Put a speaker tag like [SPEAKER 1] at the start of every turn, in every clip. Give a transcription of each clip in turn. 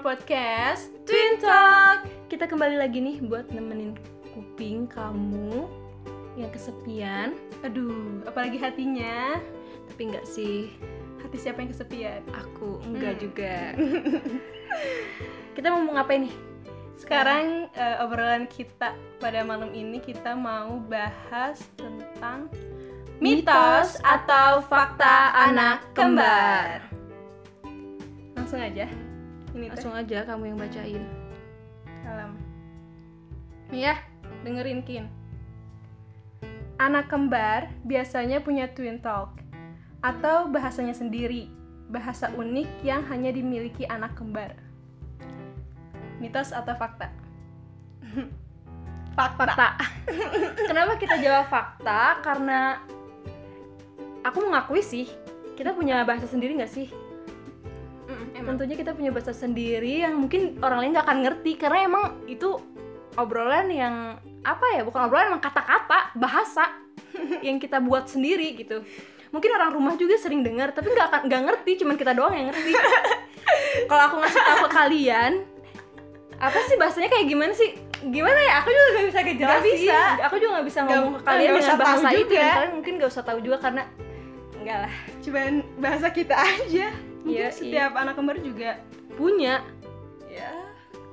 [SPEAKER 1] podcast Twin Talk. Kita kembali lagi nih buat nemenin kuping kamu yang kesepian. Aduh, apalagi hatinya. Tapi enggak sih,
[SPEAKER 2] Hati siapa yang kesepian?
[SPEAKER 1] aku enggak
[SPEAKER 2] Hmm.
[SPEAKER 1] juga. kita mau ngapain nih?
[SPEAKER 2] Sekarang eh, obrolan kita pada malam ini kita mau bahas tentang mitos atau fakta anak kembar.
[SPEAKER 1] Langsung aja.
[SPEAKER 2] Ini teh
[SPEAKER 1] Langsung aja kamu yang bacain.
[SPEAKER 2] kalam.
[SPEAKER 1] Nih ya.
[SPEAKER 2] Iya, Dengerin Kin. Anak kembar biasanya punya twin talk atau bahasanya sendiri, bahasa unik yang hanya dimiliki anak kembar. Mitos atau fakta? fakta.
[SPEAKER 1] fakta. Kenapa kita jawab fakta? Karena aku mengakui sih, kita punya bahasa sendiri nggak sih? Hmm,
[SPEAKER 2] Mm, emang.
[SPEAKER 1] Tentunya kita punya bahasa sendiri yang mungkin orang lain nggak akan ngerti karena emang itu obrolan yang apa ya? Bukan obrolan, emang kata-kata, bahasa yang kita buat sendiri gitu. Mungkin orang rumah juga sering dengar, tapi nggak akan nggak ngerti, cuman kita doang yang ngerti. Kalau aku ngasih tahu ke kalian, apa sih bahasanya kayak gimana sih? Gimana ya? Aku juga nggak bisa
[SPEAKER 2] Nggak
[SPEAKER 1] ngejelasin.
[SPEAKER 2] bisa.
[SPEAKER 1] Aku juga nggak bisa
[SPEAKER 2] Nggak-
[SPEAKER 1] ngomong ke kalian
[SPEAKER 2] nggak
[SPEAKER 1] dengan
[SPEAKER 2] usah tahu
[SPEAKER 1] bahasa itu.
[SPEAKER 2] juga.
[SPEAKER 1] Dan kalian mungkin nggak usah tahu juga karena enggak lah
[SPEAKER 2] Cuman bahasa kita aja. Mungkin
[SPEAKER 1] Iya,
[SPEAKER 2] setiap anak kembar juga
[SPEAKER 1] punya.
[SPEAKER 2] ya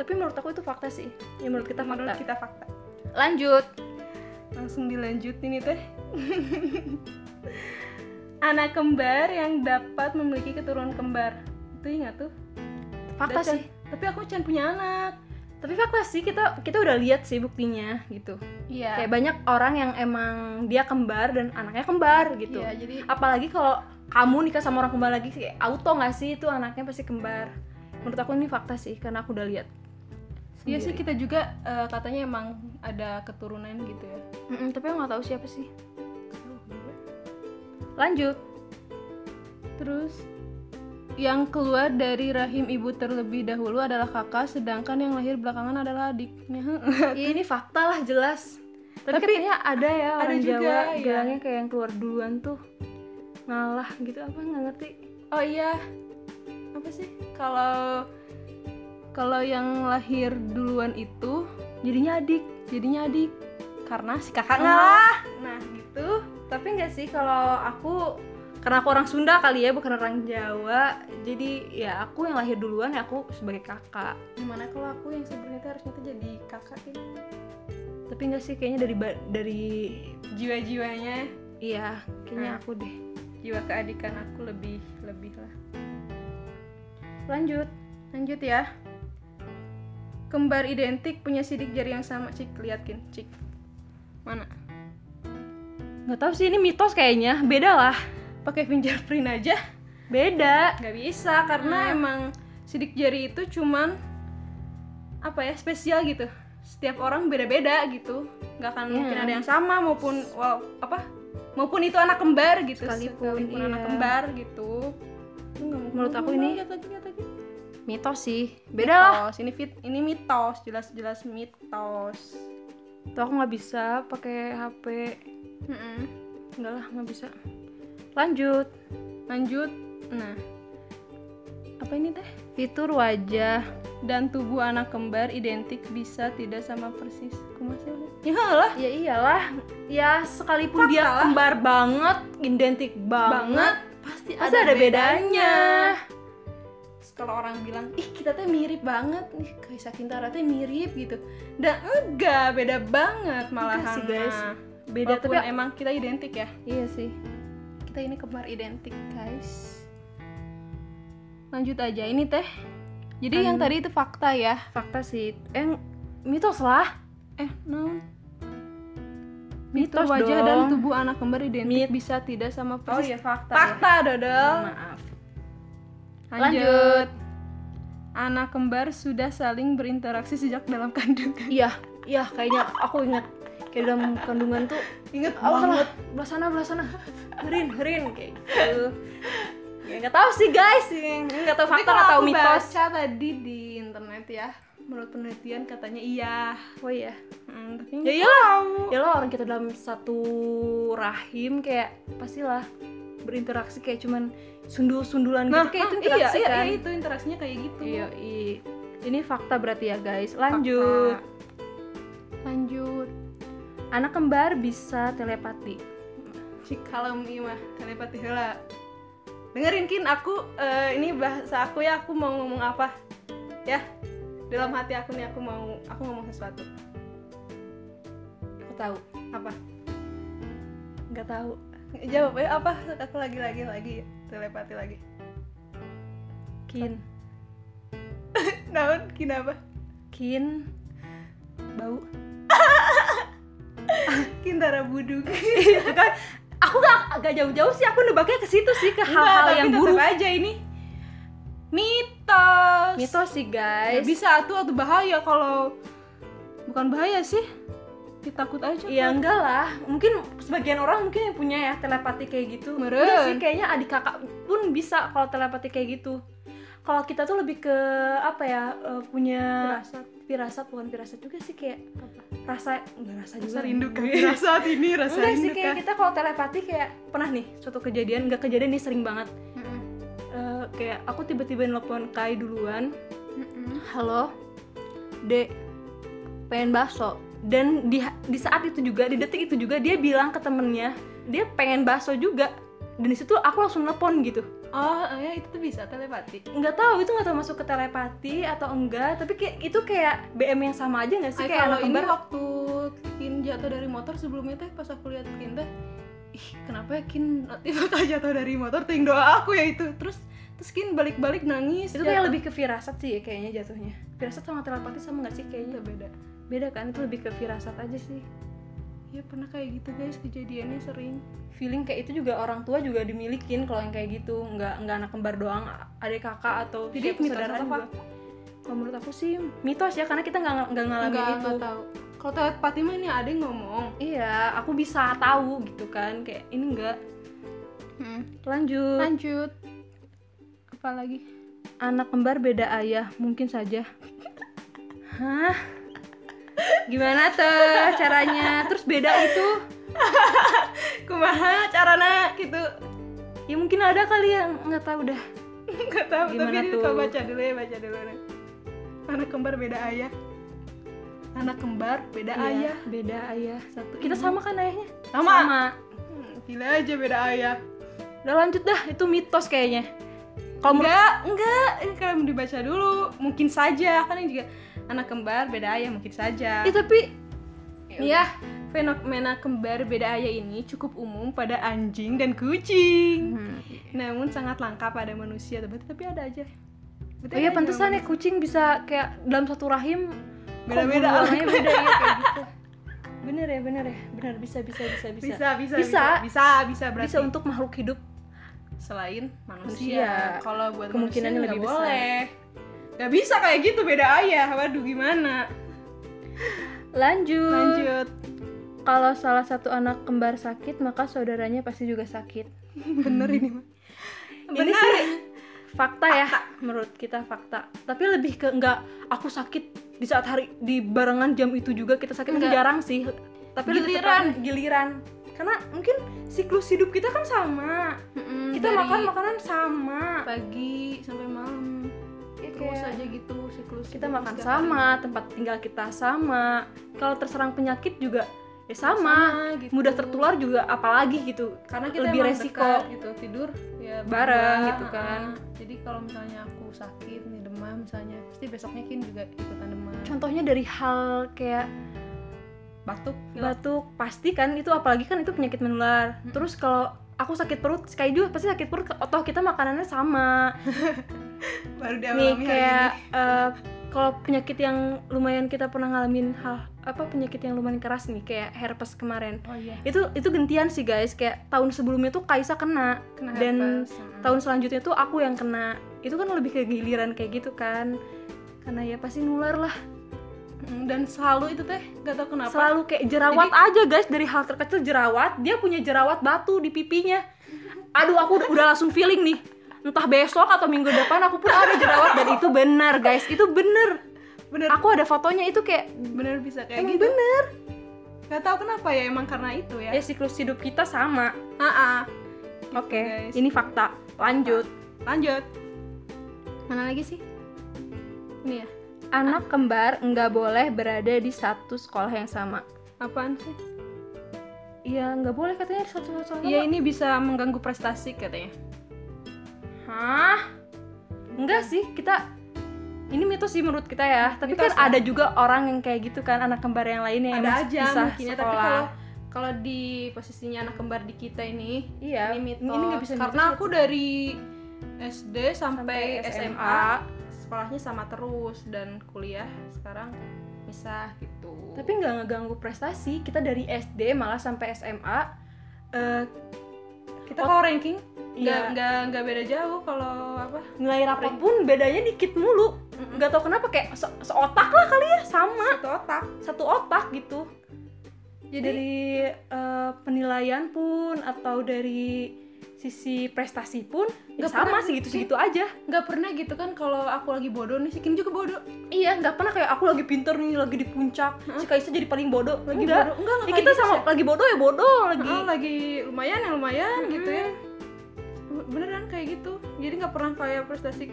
[SPEAKER 1] Tapi menurut aku itu fakta sih. Ya menurut kita
[SPEAKER 2] menurut
[SPEAKER 1] fakta.
[SPEAKER 2] kita fakta.
[SPEAKER 1] Lanjut.
[SPEAKER 2] Langsung dilanjutin itu. anak kembar yang dapat memiliki keturunan kembar. Itu ingat tuh.
[SPEAKER 1] Fakta
[SPEAKER 2] Dan Chan-
[SPEAKER 1] sih.
[SPEAKER 2] Tapi aku Chan punya anak.
[SPEAKER 1] Tapi fakta sih kita kita udah lihat sih buktinya gitu.
[SPEAKER 2] Iya.
[SPEAKER 1] Kayak banyak orang yang emang dia kembar dan anaknya kembar gitu.
[SPEAKER 2] Iya, jadi
[SPEAKER 1] Apalagi kalau kamu nikah sama orang kembar lagi kayak auto nggak sih itu anaknya pasti kembar. Menurut aku ini fakta sih karena aku udah lihat.
[SPEAKER 2] Iya sih
[SPEAKER 1] sendiri.
[SPEAKER 2] kita juga eh, katanya emang ada keturunan gitu ya.
[SPEAKER 1] Mm-mm, tapi aku nggak tahu siapa sih. Lanjut.
[SPEAKER 2] Terus yang keluar dari rahim ibu terlebih dahulu adalah kakak, sedangkan yang lahir belakangan adalah adiknya.
[SPEAKER 1] Ya, ini fakta lah jelas. Tapi,
[SPEAKER 2] Tapi
[SPEAKER 1] katanya ada ya
[SPEAKER 2] ada
[SPEAKER 1] orang
[SPEAKER 2] juga,
[SPEAKER 1] Jawa
[SPEAKER 2] iya.
[SPEAKER 1] bilangnya kayak yang keluar duluan tuh ngalah gitu apa nggak ngerti.
[SPEAKER 2] Oh iya, apa sih? Kalau kalau yang lahir duluan itu jadinya adik, jadinya adik karena si kakak ngalah. Nah gitu.
[SPEAKER 1] Tapi nggak sih kalau aku karena aku orang Sunda kali ya bukan orang Jawa jadi ya aku yang lahir duluan ya aku sebagai kakak
[SPEAKER 2] Gimana kalau aku yang sebenarnya tuh harusnya tuh jadi kakak ini?
[SPEAKER 1] tapi nggak sih kayaknya dari ba- dari
[SPEAKER 2] Jiwa-jiwanya,
[SPEAKER 1] iya kayaknya
[SPEAKER 2] Hmm.
[SPEAKER 1] aku deh
[SPEAKER 2] jiwa keadikan aku lebih lebih lah.
[SPEAKER 1] lanjut
[SPEAKER 2] Lanjut ya. Kembar identik punya sidik jari yang sama, Cik. Lihatkin, Cik. Mana?
[SPEAKER 1] nggak tahu sih ini mitos kayaknya beda lah
[SPEAKER 2] Pakai fingerprint aja. Nah.
[SPEAKER 1] beda
[SPEAKER 2] nggak bisa karena
[SPEAKER 1] Hmm.
[SPEAKER 2] emang sidik jari itu cuman apa ya spesial gitu setiap orang beda-beda gitu nggak akan mungkin
[SPEAKER 1] Iya.
[SPEAKER 2] ada yang sama maupun wow apa maupun itu anak kembar gitu
[SPEAKER 1] Sekalipun,
[SPEAKER 2] anak
[SPEAKER 1] iya.
[SPEAKER 2] kembar gitu Itu nggak mungkin.
[SPEAKER 1] Menurut aku
[SPEAKER 2] Ngomong
[SPEAKER 1] ini
[SPEAKER 2] lihat lagi, lihat lagi.
[SPEAKER 1] mitos sih beda lah
[SPEAKER 2] mitos ini fit ini mitos jelas-jelas mitos
[SPEAKER 1] tuh aku nggak bisa pakai HP
[SPEAKER 2] Mm-mm.
[SPEAKER 1] nggak lah nggak bisa lanjut
[SPEAKER 2] lanjut nah apa ini teh
[SPEAKER 1] fitur wajah
[SPEAKER 2] dan tubuh anak kembar identik bisa tidak sama persis kumasnya ya lah
[SPEAKER 1] ya iyalah ya sekalipun
[SPEAKER 2] Fakta
[SPEAKER 1] dia
[SPEAKER 2] lah.
[SPEAKER 1] kembar banget identik
[SPEAKER 2] banget
[SPEAKER 1] banget,
[SPEAKER 2] pasti,
[SPEAKER 1] pasti ada, bedanya
[SPEAKER 2] Terus kalau orang bilang ih kita teh mirip banget nih Kaisa Kintara teh mirip gitu dan enggak beda banget malahan
[SPEAKER 1] sih, guys.
[SPEAKER 2] mah.
[SPEAKER 1] beda
[SPEAKER 2] Walaupun
[SPEAKER 1] tapi
[SPEAKER 2] emang kita identik ya
[SPEAKER 1] iya sih
[SPEAKER 2] kita ini kembar identik guys lanjut aja ini teh jadi yang
[SPEAKER 1] An-
[SPEAKER 2] tadi itu fakta ya
[SPEAKER 1] fakta sih eh mitos lah
[SPEAKER 2] eh no
[SPEAKER 1] Mitos
[SPEAKER 2] Fitur wajah dan
[SPEAKER 1] dong.
[SPEAKER 2] tubuh anak kembar identik
[SPEAKER 1] Mit-
[SPEAKER 2] bisa tidak sama persis
[SPEAKER 1] Oh iya, fakta
[SPEAKER 2] fakta dodol
[SPEAKER 1] maaf
[SPEAKER 2] ya. Lanjut.
[SPEAKER 1] Lanjut.
[SPEAKER 2] Anak kembar sudah saling berinteraksi sejak dalam kandungan.
[SPEAKER 1] iya iya kayaknya aku ingat kayak dalam kandungan tuh
[SPEAKER 2] Ingat
[SPEAKER 1] oh, salah belah sana belah sana herin herin kayak gitu ya nggak tahu sih guys nggak tahu fakta atau mitos
[SPEAKER 2] Baca tadi di internet ya. Menurut penelitian katanya iya.
[SPEAKER 1] oh iya
[SPEAKER 2] Hmm, tapi
[SPEAKER 1] ya iyalah ya lah orang kita dalam satu rahim kayak pastilah berinteraksi kayak cuman sundul sundulan
[SPEAKER 2] nah,
[SPEAKER 1] gitu kayak itu
[SPEAKER 2] iya,
[SPEAKER 1] interaksi
[SPEAKER 2] iya,
[SPEAKER 1] kan
[SPEAKER 2] iya, itu interaksinya kayak gitu.
[SPEAKER 1] Iya, i- Ini fakta berarti ya guys. Lanjut.
[SPEAKER 2] Fakta. lanjut
[SPEAKER 1] Anak kembar bisa telepati.
[SPEAKER 2] cikalem ieu mah telepati heula dengerin kin aku eh, ini bahasa aku ya aku mau ngomong apa ya dalam hati aku nih aku mau aku ngomong sesuatu
[SPEAKER 1] Aku tahu.
[SPEAKER 2] apa
[SPEAKER 1] Nggak tahu.
[SPEAKER 2] jawab ayo apa aku lagi lagi lagi telepati lagi
[SPEAKER 1] Kin.
[SPEAKER 2] naon kin apa
[SPEAKER 1] Kin. Bau.
[SPEAKER 2] kintara buduk
[SPEAKER 1] Itu kan aku gak, gak jauh-jauh sih aku nebaknya ke situ sih ke
[SPEAKER 2] Enggak,
[SPEAKER 1] hal-hal
[SPEAKER 2] tapi
[SPEAKER 1] yang
[SPEAKER 2] tetep
[SPEAKER 1] buruk
[SPEAKER 2] aja ini mitos
[SPEAKER 1] mitos sih
[SPEAKER 2] Ya,
[SPEAKER 1] guys
[SPEAKER 2] bisa tuh atau bahaya kalau bukan bahaya sih ditakut aja
[SPEAKER 1] Ya
[SPEAKER 2] kan.
[SPEAKER 1] enggak lah, mungkin sebagian orang mungkin yang punya ya telepati kayak gitu.
[SPEAKER 2] Meren.
[SPEAKER 1] Udah sih kayaknya adik kakak pun bisa kalau telepati kayak gitu. Kalau kita tuh lebih ke apa ya eh, punya
[SPEAKER 2] Firasat.
[SPEAKER 1] firasat bukan firasat juga sih kayak
[SPEAKER 2] Apa?
[SPEAKER 1] rasa enggak rasa juga.
[SPEAKER 2] rasa rindu kan rasa ini rasa
[SPEAKER 1] Enggak sih
[SPEAKER 2] rindu
[SPEAKER 1] kayak kita kalau telepati kayak pernah nih suatu kejadian enggak kejadian nih sering banget. Eh, kayak aku tiba-tiba nelpon Kai duluan. Halo. Dek, pengen bakso. Dan di, di saat itu juga, di detik itu juga dia bilang ke temennya, dia pengen bakso juga. Dan di situ aku langsung nelpon gitu.
[SPEAKER 2] oh ya itu tuh bisa telepati
[SPEAKER 1] Nggak tahu itu nggak tahu masuk ke telepati atau enggak, tapi kayak, itu kayak BM yang sama aja nggak sih
[SPEAKER 2] Ay,
[SPEAKER 1] kayak
[SPEAKER 2] kalau
[SPEAKER 1] anak
[SPEAKER 2] ini
[SPEAKER 1] kembar.
[SPEAKER 2] waktu Kin jatuh dari motor sebelumnya teh pas aku lihat Kin teh ih kenapa ya Kin tiba-tiba jatuh dari motor ting doa aku ya itu terus terus Kin balik-balik nangis
[SPEAKER 1] Itu kayak lebih ke firasat sih ya kayaknya jatuhnya. Firasat sama telepati sama nggak sih kayaknya?
[SPEAKER 2] beda
[SPEAKER 1] Beda kan? Itu lebih ke firasat aja sih.
[SPEAKER 2] ya pernah kayak gitu guys kejadiannya sering
[SPEAKER 1] feeling kayak itu juga orang tua juga dimilikin kalau yang kayak gitu nggak nggak anak kembar doang adik kakak atau
[SPEAKER 2] Jadi
[SPEAKER 1] siapa
[SPEAKER 2] mitos
[SPEAKER 1] saudara
[SPEAKER 2] atau
[SPEAKER 1] juga. kalau menurut aku sih mitos ya karena kita nggak nggak ngalamin
[SPEAKER 2] nggak
[SPEAKER 1] itu
[SPEAKER 2] nggak tahu kalau telepati mah ini ada yang ngomong
[SPEAKER 1] iya aku bisa tahu gitu kan kayak ini enggak
[SPEAKER 2] Hmm.
[SPEAKER 1] lanjut
[SPEAKER 2] lanjut apa lagi
[SPEAKER 1] anak kembar beda ayah mungkin saja hah gimana tuh caranya terus beda itu
[SPEAKER 2] kumaha carana gitu
[SPEAKER 1] ya mungkin ada kali yang nggak tahu dah
[SPEAKER 2] nggak tahu
[SPEAKER 1] Gimana
[SPEAKER 2] tapi ini
[SPEAKER 1] tuh?
[SPEAKER 2] kau baca dulu ya baca dulu nih. anak kembar beda ayah anak kembar beda
[SPEAKER 1] Iya,
[SPEAKER 2] ayah
[SPEAKER 1] beda ayah
[SPEAKER 2] satu
[SPEAKER 1] kita
[SPEAKER 2] ibu.
[SPEAKER 1] sama kan ayahnya
[SPEAKER 2] Sama. Hmm, gila aja beda ayah
[SPEAKER 1] Udah lanjut dah, itu mitos kayaknya. Kalau menurut
[SPEAKER 2] enggak enggak ini kalau dibaca dulu mungkin saja kan ini juga anak kembar beda ayah mungkin saja
[SPEAKER 1] Ih, Eh, tapi
[SPEAKER 2] ya fenomena kembar beda ayah ini cukup umum pada anjing dan kucing
[SPEAKER 1] Hmm.
[SPEAKER 2] namun sangat langka pada manusia tapi tapi ada aja Berarti
[SPEAKER 1] Oh
[SPEAKER 2] ada
[SPEAKER 1] iya
[SPEAKER 2] aja
[SPEAKER 1] pantesan ya
[SPEAKER 2] manusia.
[SPEAKER 1] kucing bisa kayak dalam satu rahim kok
[SPEAKER 2] Beda-beda.
[SPEAKER 1] bulu warnanya beda ya kayak gitu. Bener ya, bener ya. Bener bisa bisa bisa bisa.
[SPEAKER 2] bisa bisa
[SPEAKER 1] Bisa.
[SPEAKER 2] bisa bisa bisa berarti
[SPEAKER 1] Bisa untuk makhluk hidup.
[SPEAKER 2] selain
[SPEAKER 1] Manusia.
[SPEAKER 2] manusia, kalau buat manusia
[SPEAKER 1] Kemungkinannya
[SPEAKER 2] nggak
[SPEAKER 1] lebih besar.
[SPEAKER 2] boleh nggak bisa kayak gitu beda ayah waduh gimana Hmm.
[SPEAKER 1] Lanjut.
[SPEAKER 2] lanjut
[SPEAKER 1] Kalau salah satu anak kembar sakit, maka saudaranya pasti juga sakit.
[SPEAKER 2] bener ini mah
[SPEAKER 1] Ini
[SPEAKER 2] bener
[SPEAKER 1] sih fakta ya menurut kita fakta. Tapi lebih ke enggak aku sakit di saat hari di barengan jam itu juga kita sakit itu
[SPEAKER 2] Enggak.
[SPEAKER 1] jarang sih. Tapi lebih
[SPEAKER 2] Giliran.
[SPEAKER 1] tepatnya giliran. Karena mungkin siklus hidup kita kan sama.
[SPEAKER 2] Mm-mm, dari
[SPEAKER 1] Kita makan makanan sama.
[SPEAKER 2] pagi sampai malam
[SPEAKER 1] Ya,
[SPEAKER 2] terus
[SPEAKER 1] kayak
[SPEAKER 2] aja gitu siklus
[SPEAKER 1] kita
[SPEAKER 2] hidup
[SPEAKER 1] makan
[SPEAKER 2] setiap hari.
[SPEAKER 1] sama, tempat tinggal kita sama. Kalau terserang penyakit juga ya sama.
[SPEAKER 2] sama gitu.
[SPEAKER 1] Mudah tertular juga apalagi gitu.
[SPEAKER 2] karena kita
[SPEAKER 1] lebih
[SPEAKER 2] emang
[SPEAKER 1] resiko.
[SPEAKER 2] dekat gitu tidur ya
[SPEAKER 1] Bareng
[SPEAKER 2] berdua,
[SPEAKER 1] gitu kan.
[SPEAKER 2] ah. jadi kalau misalnya aku sakit nih demam misalnya pasti besoknya kin juga ikutan demam
[SPEAKER 1] Contohnya dari hal kayak
[SPEAKER 2] batuk pilek.
[SPEAKER 1] batuk pasti kan itu apalagi kan itu penyakit menular
[SPEAKER 2] Mm-mm.
[SPEAKER 1] terus kalau aku sakit perut kayak juga pasti sakit perut otak kita makanannya sama
[SPEAKER 2] baru
[SPEAKER 1] nih
[SPEAKER 2] dialami hari
[SPEAKER 1] kayak eh, kalau penyakit yang lumayan kita pernah ngalamin hal apa penyakit yang lumayan keras nih kayak herpes kemarin
[SPEAKER 2] ini. oh iya
[SPEAKER 1] itu itu gentian sih guys kayak tahun sebelumnya tuh Kaisa kena
[SPEAKER 2] kena
[SPEAKER 1] Dan
[SPEAKER 2] herpes.
[SPEAKER 1] tahun selanjutnya tuh aku yang kena itu kan lebih ke giliran kayak gitu kan karena ya pasti nular lah
[SPEAKER 2] Mm, dan selalu itu teh gak tau kenapa
[SPEAKER 1] selalu kayak jerawat aja guys dari hal terkecil jerawat dia punya jerawat batu di pipinya aduh aku udah- udah langsung feeling nih entah besok atau minggu depan aku pun ada jerawat dan itu benar guys itu bener
[SPEAKER 2] bener
[SPEAKER 1] aku ada fotonya itu kayak
[SPEAKER 2] bener bisa kayak
[SPEAKER 1] emang
[SPEAKER 2] gitu
[SPEAKER 1] bener
[SPEAKER 2] gak tau kenapa ya emang karena itu ya
[SPEAKER 1] ya Gitu, siklus hidup kita sama
[SPEAKER 2] Ah, ah.
[SPEAKER 1] oke
[SPEAKER 2] guys.
[SPEAKER 1] ini fakta lanjut
[SPEAKER 2] lanjut
[SPEAKER 1] mana lagi sih
[SPEAKER 2] ini ya
[SPEAKER 1] anak kembar nggak boleh berada di satu sekolah yang sama
[SPEAKER 2] Apaan sih?
[SPEAKER 1] Iya nggak boleh katanya di satu sekolah yang
[SPEAKER 2] Iya
[SPEAKER 1] sama
[SPEAKER 2] ini bisa mengganggu prestasi katanya.
[SPEAKER 1] hah enggak sih kita ini mitos sih menurut kita ya tapi
[SPEAKER 2] Mitos
[SPEAKER 1] kan
[SPEAKER 2] ya.
[SPEAKER 1] ada juga orang yang kayak gitu kan anak kembar yang lainnya yang
[SPEAKER 2] Ada
[SPEAKER 1] masih
[SPEAKER 2] aja
[SPEAKER 1] pisah
[SPEAKER 2] mungkinnya, tapi
[SPEAKER 1] sekolah
[SPEAKER 2] kalau kalau di posisinya anak kembar di kita ini,
[SPEAKER 1] iya
[SPEAKER 2] ini mitos.
[SPEAKER 1] nggak bisa
[SPEAKER 2] Karena
[SPEAKER 1] mitos
[SPEAKER 2] aku dari SD sampai, SMA,
[SPEAKER 1] Sampai SMA,
[SPEAKER 2] sekolahnya sama terus dan kuliah sekarang misah gitu.
[SPEAKER 1] tapi nggak ngeganggu prestasi kita dari SD malah sampai SMA eh,
[SPEAKER 2] kita kalau ranking nggak
[SPEAKER 1] iya
[SPEAKER 2] nggak nggak beda jauh kalau apa?
[SPEAKER 1] nilai rapot pun bedanya dikit mulu
[SPEAKER 2] Hmm.
[SPEAKER 1] nggak tau kenapa kayak se- seotak lah kali ya sama
[SPEAKER 2] satu otak.
[SPEAKER 1] satu otak gitu
[SPEAKER 2] Jadi
[SPEAKER 1] dari eh, penilaian pun atau dari sisi prestasi pun ya
[SPEAKER 2] Nggak
[SPEAKER 1] sama
[SPEAKER 2] pernah
[SPEAKER 1] segitu
[SPEAKER 2] sih.
[SPEAKER 1] segitu aja
[SPEAKER 2] nggak pernah gitu kan kalau aku lagi bodoh nih, si Kim juga bodoh.
[SPEAKER 1] iya nggak pernah kayak aku lagi pinter nih lagi di puncak si Kaisa jadi paling bodoh
[SPEAKER 2] Lagi bodoh.
[SPEAKER 1] enggak
[SPEAKER 2] Enggak,
[SPEAKER 1] ya kita sama lagi bodoh ya bodoh lagi
[SPEAKER 2] lagi lagi lumayan ya lumayan gitu ya.
[SPEAKER 1] Mm.
[SPEAKER 2] Beneran kayak gitu. Jadi nggak pernah kayak prestasi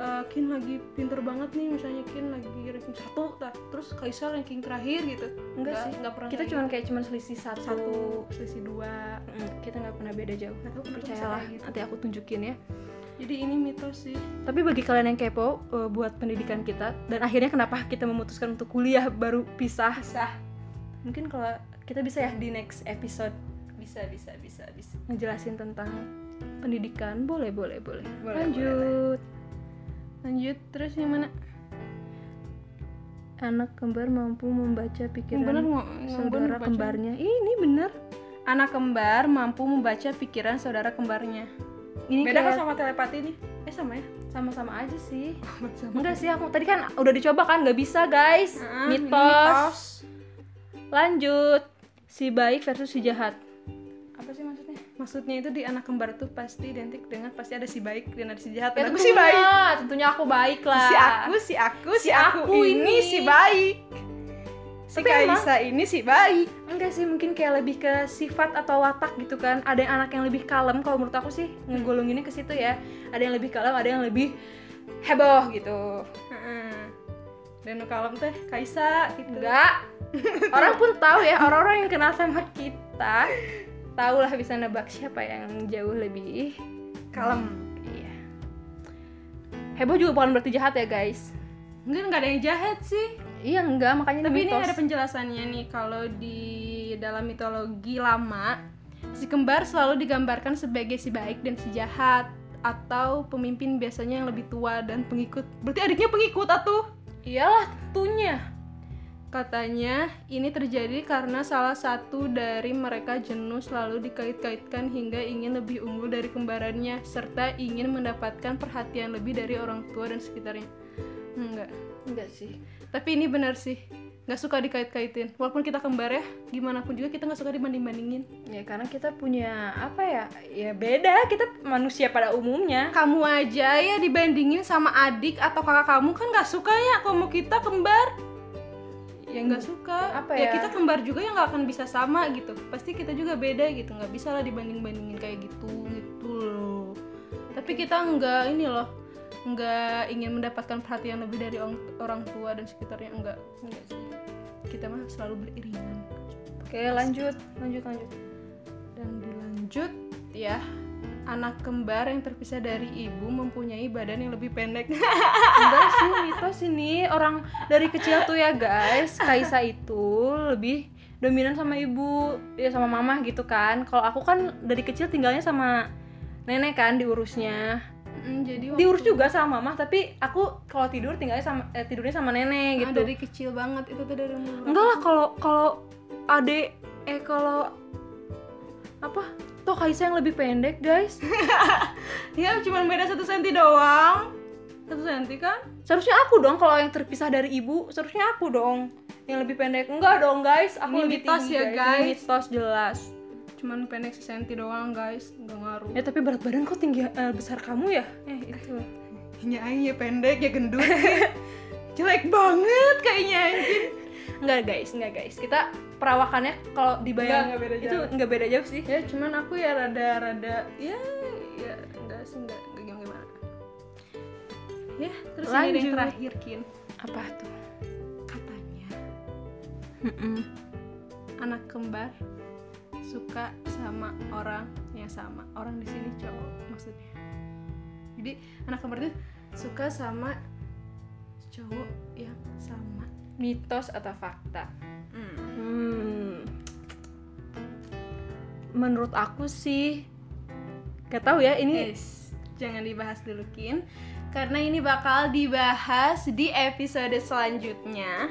[SPEAKER 2] eh, Kin lagi pinter banget nih misalnya Kin lagi ranking satu lah. terus Kaisa ranking terakhir gitu
[SPEAKER 1] enggak sih
[SPEAKER 2] nggak pernah
[SPEAKER 1] kita
[SPEAKER 2] kayak
[SPEAKER 1] cuman kayak cuman selisih
[SPEAKER 2] gitu.
[SPEAKER 1] satu,
[SPEAKER 2] satu selisih dua
[SPEAKER 1] Mm, kita nggak pernah beda jauh
[SPEAKER 2] nggak tahu kenapa bisa
[SPEAKER 1] percayalah
[SPEAKER 2] kayak gitu.
[SPEAKER 1] nanti aku tunjukin ya
[SPEAKER 2] jadi ini mitos sih
[SPEAKER 1] tapi bagi kalian yang kepo eh, buat pendidikan kita dan akhirnya kenapa kita memutuskan untuk kuliah baru pisah
[SPEAKER 2] bisa
[SPEAKER 1] mungkin kalau kita bisa ya di next episode
[SPEAKER 2] bisa bisa bisa bisa
[SPEAKER 1] ngejelasin tentang pendidikan boleh boleh boleh,
[SPEAKER 2] Boleh,
[SPEAKER 1] lanjut
[SPEAKER 2] lanjut terus yang mana
[SPEAKER 1] anak kembar mampu membaca
[SPEAKER 2] yang
[SPEAKER 1] pikiran
[SPEAKER 2] benar mau yang bener
[SPEAKER 1] saudara
[SPEAKER 2] baca.
[SPEAKER 1] kembarnya Ih, ini bener
[SPEAKER 2] anak kembar mampu membaca pikiran saudara kembarnya
[SPEAKER 1] ini
[SPEAKER 2] beda kan
[SPEAKER 1] kayak
[SPEAKER 2] sama telepati nih eh sama ya
[SPEAKER 1] sama-sama aja sih
[SPEAKER 2] sama
[SPEAKER 1] enggak sih aku tadi kan udah dicoba kan nggak bisa guys
[SPEAKER 2] Ah,
[SPEAKER 1] mitos. lanjut si baik versus si jahat
[SPEAKER 2] apa sih maksudnya maksudnya itu di anak kembar tuh pasti identik dengan pasti ada si baik dan ada si jahat
[SPEAKER 1] Ya,
[SPEAKER 2] dan aku
[SPEAKER 1] tentunya,
[SPEAKER 2] si baik
[SPEAKER 1] tentunya aku baik lah
[SPEAKER 2] si aku si aku si,
[SPEAKER 1] Si
[SPEAKER 2] aku,
[SPEAKER 1] aku
[SPEAKER 2] ini
[SPEAKER 1] ini.
[SPEAKER 2] si baik si
[SPEAKER 1] Tapi emang-
[SPEAKER 2] Kaisa ini si baik
[SPEAKER 1] enggak sih mungkin kayak lebih ke sifat atau watak gitu kan ada yang anak yang lebih kalem kalau menurut aku sih ngegolonginnya ke situ ya ada yang lebih kalem ada yang lebih heboh gitu
[SPEAKER 2] dan nu kalem teh Kaisa gitu
[SPEAKER 1] enggak orang pun tahu ya orang-orang yang kenal sama kita tahulah bisa nebak siapa yang jauh lebih
[SPEAKER 2] kalem
[SPEAKER 1] iya heboh juga bukan berarti jahat ya guys
[SPEAKER 2] mungkin nggak ada yang jahat sih
[SPEAKER 1] iya enggak makanya
[SPEAKER 2] Tapi ini
[SPEAKER 1] mitos.
[SPEAKER 2] ada penjelasannya nih kalau di dalam mitologi lama si kembar selalu digambarkan sebagai si baik dan si jahat atau pemimpin biasanya yang lebih tua dan pengikut. Berarti adiknya pengikut atuh.
[SPEAKER 1] iyalah tentunya
[SPEAKER 2] Katanya ini terjadi karena salah satu dari mereka jenuh selalu dikait-kaitkan hingga ingin lebih unggul dari kembarannya serta ingin mendapatkan perhatian lebih dari orang tua dan sekitarnya. Enggak.
[SPEAKER 1] enggak sih
[SPEAKER 2] Tapi ini benar sih, nggak suka dikait-kaitin. Walaupun kita kembar ya, gimana pun juga kita nggak suka dibanding-bandingin.
[SPEAKER 1] ya karena kita punya apa ya ya beda kita manusia pada umumnya
[SPEAKER 2] Kamu aja ya dibandingin sama adik atau kakak kamu kan nggak suka ya kamu kita kembar. Ya nggak suka.
[SPEAKER 1] Apa ya?
[SPEAKER 2] kita kembar juga ya nggak akan bisa sama gitu. Pasti kita juga beda gitu, nggak bisa lah dibanding-bandingin kayak gitu gitu loh. Tapi kita nggak ini loh, nggak ingin mendapatkan perhatian lebih dari orang, orang tua dan sekitarnya enggak.
[SPEAKER 1] Enggak sih.
[SPEAKER 2] Kita mah selalu beriringan.
[SPEAKER 1] Oke lanjut, lanjut lanjut.
[SPEAKER 2] Dan dilanjut ya anak kembar yang terpisah dari ibu mempunyai badan yang lebih pendek.
[SPEAKER 1] Enggak sih mitos ini orang dari kecil tuh ya guys, Kaisa itu lebih dominan sama ibu ya sama mama gitu kan. Kalau aku kan dari kecil tinggalnya sama nenek kan diurusnya.
[SPEAKER 2] Mm, jadi waktu-
[SPEAKER 1] Diurus juga sama mama tapi aku kalau tidur tinggalnya sama eh, tidurnya sama
[SPEAKER 2] Ah,
[SPEAKER 1] nenek gitu.
[SPEAKER 2] dari kecil banget itu tuh dari umur
[SPEAKER 1] Enggak lah kalau kalau adek eh kalau apa? Toh Kaisa yang lebih pendek guys.
[SPEAKER 2] Ya cuma beda satu senti doang. Satu senti kan?
[SPEAKER 1] Seharusnya aku dong kalau yang terpisah dari ibu, seharusnya aku dong yang lebih pendek. Enggak dong guys, aku
[SPEAKER 2] Ini
[SPEAKER 1] lebih
[SPEAKER 2] mitos
[SPEAKER 1] tinggi
[SPEAKER 2] ya,
[SPEAKER 1] Ini
[SPEAKER 2] guys.
[SPEAKER 1] mitos jelas.
[SPEAKER 2] Cuman pendek sesenti doang guys, nggak ngaruh.
[SPEAKER 1] Ya tapi berat badan kok tinggi eh, besar kamu ya? Eh itu.
[SPEAKER 2] Ya aing
[SPEAKER 1] iya,
[SPEAKER 2] ya pendek ya gendut. Jelek banget kayaknya anjing.
[SPEAKER 1] Enggak guys, enggak guys. Kita perawakannya kalau
[SPEAKER 2] Enggak,
[SPEAKER 1] dibayang
[SPEAKER 2] enggak beda
[SPEAKER 1] itu
[SPEAKER 2] jauh.
[SPEAKER 1] enggak beda jauh sih.
[SPEAKER 2] Ya cuman aku ya rada rada ya ya enggak sih enggak enggak gimana. ya terus ini ada yang
[SPEAKER 1] Lanjut.
[SPEAKER 2] terakhir kin
[SPEAKER 1] apa tuh
[SPEAKER 2] katanya
[SPEAKER 1] Mm-mm.
[SPEAKER 2] anak kembar suka sama orang yang sama orang di sini cowok maksudnya jadi anak kembar itu suka sama cowok yang sama
[SPEAKER 1] mitos atau fakta Hmm. Menurut aku sih Gak tahu ya ini
[SPEAKER 2] Yes, jangan dibahas dulu Kin Eh, karena ini bakal dibahas di episode selanjutnya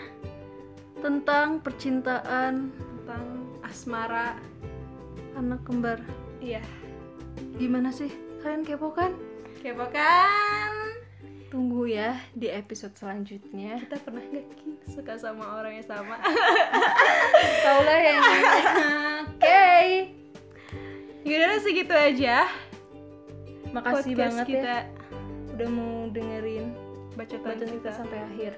[SPEAKER 1] tentang percintaan
[SPEAKER 2] tentang asmara
[SPEAKER 1] anak kembar.
[SPEAKER 2] iya
[SPEAKER 1] Gimana sih? Kalian kepo kan?
[SPEAKER 2] kepo kan
[SPEAKER 1] Tunggu ya di episode selanjutnya.
[SPEAKER 2] kita pernah nggak Kin suka sama orang yang sama
[SPEAKER 1] Tahu lah yang
[SPEAKER 2] oke yaudah Ya segitu aja
[SPEAKER 1] Makasih
[SPEAKER 2] podcast
[SPEAKER 1] banget
[SPEAKER 2] kita
[SPEAKER 1] ya udah mau dengerin
[SPEAKER 2] bacotan
[SPEAKER 1] bacaan
[SPEAKER 2] kita
[SPEAKER 1] kita sampai akhir.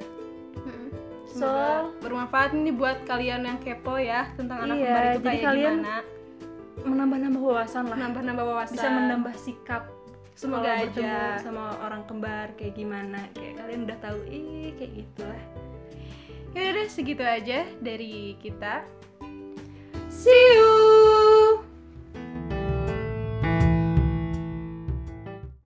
[SPEAKER 2] Mm-mm.
[SPEAKER 1] So,
[SPEAKER 2] Semoga bermanfaat nih buat kalian yang kepo ya tentang anak
[SPEAKER 1] Iya,
[SPEAKER 2] kembar itu
[SPEAKER 1] jadi
[SPEAKER 2] kayak
[SPEAKER 1] kalian
[SPEAKER 2] gimana
[SPEAKER 1] menambah-nambah wawasan lah.
[SPEAKER 2] nambah-nambah wawasan
[SPEAKER 1] Bisa menambah sikap
[SPEAKER 2] semoga
[SPEAKER 1] kalau
[SPEAKER 2] aja
[SPEAKER 1] bertemu sama orang kembar kayak gimana kayak kalian udah tahu ih kayak gitulah Ya
[SPEAKER 2] Yaudah deh, segitu aja dari kita. See you.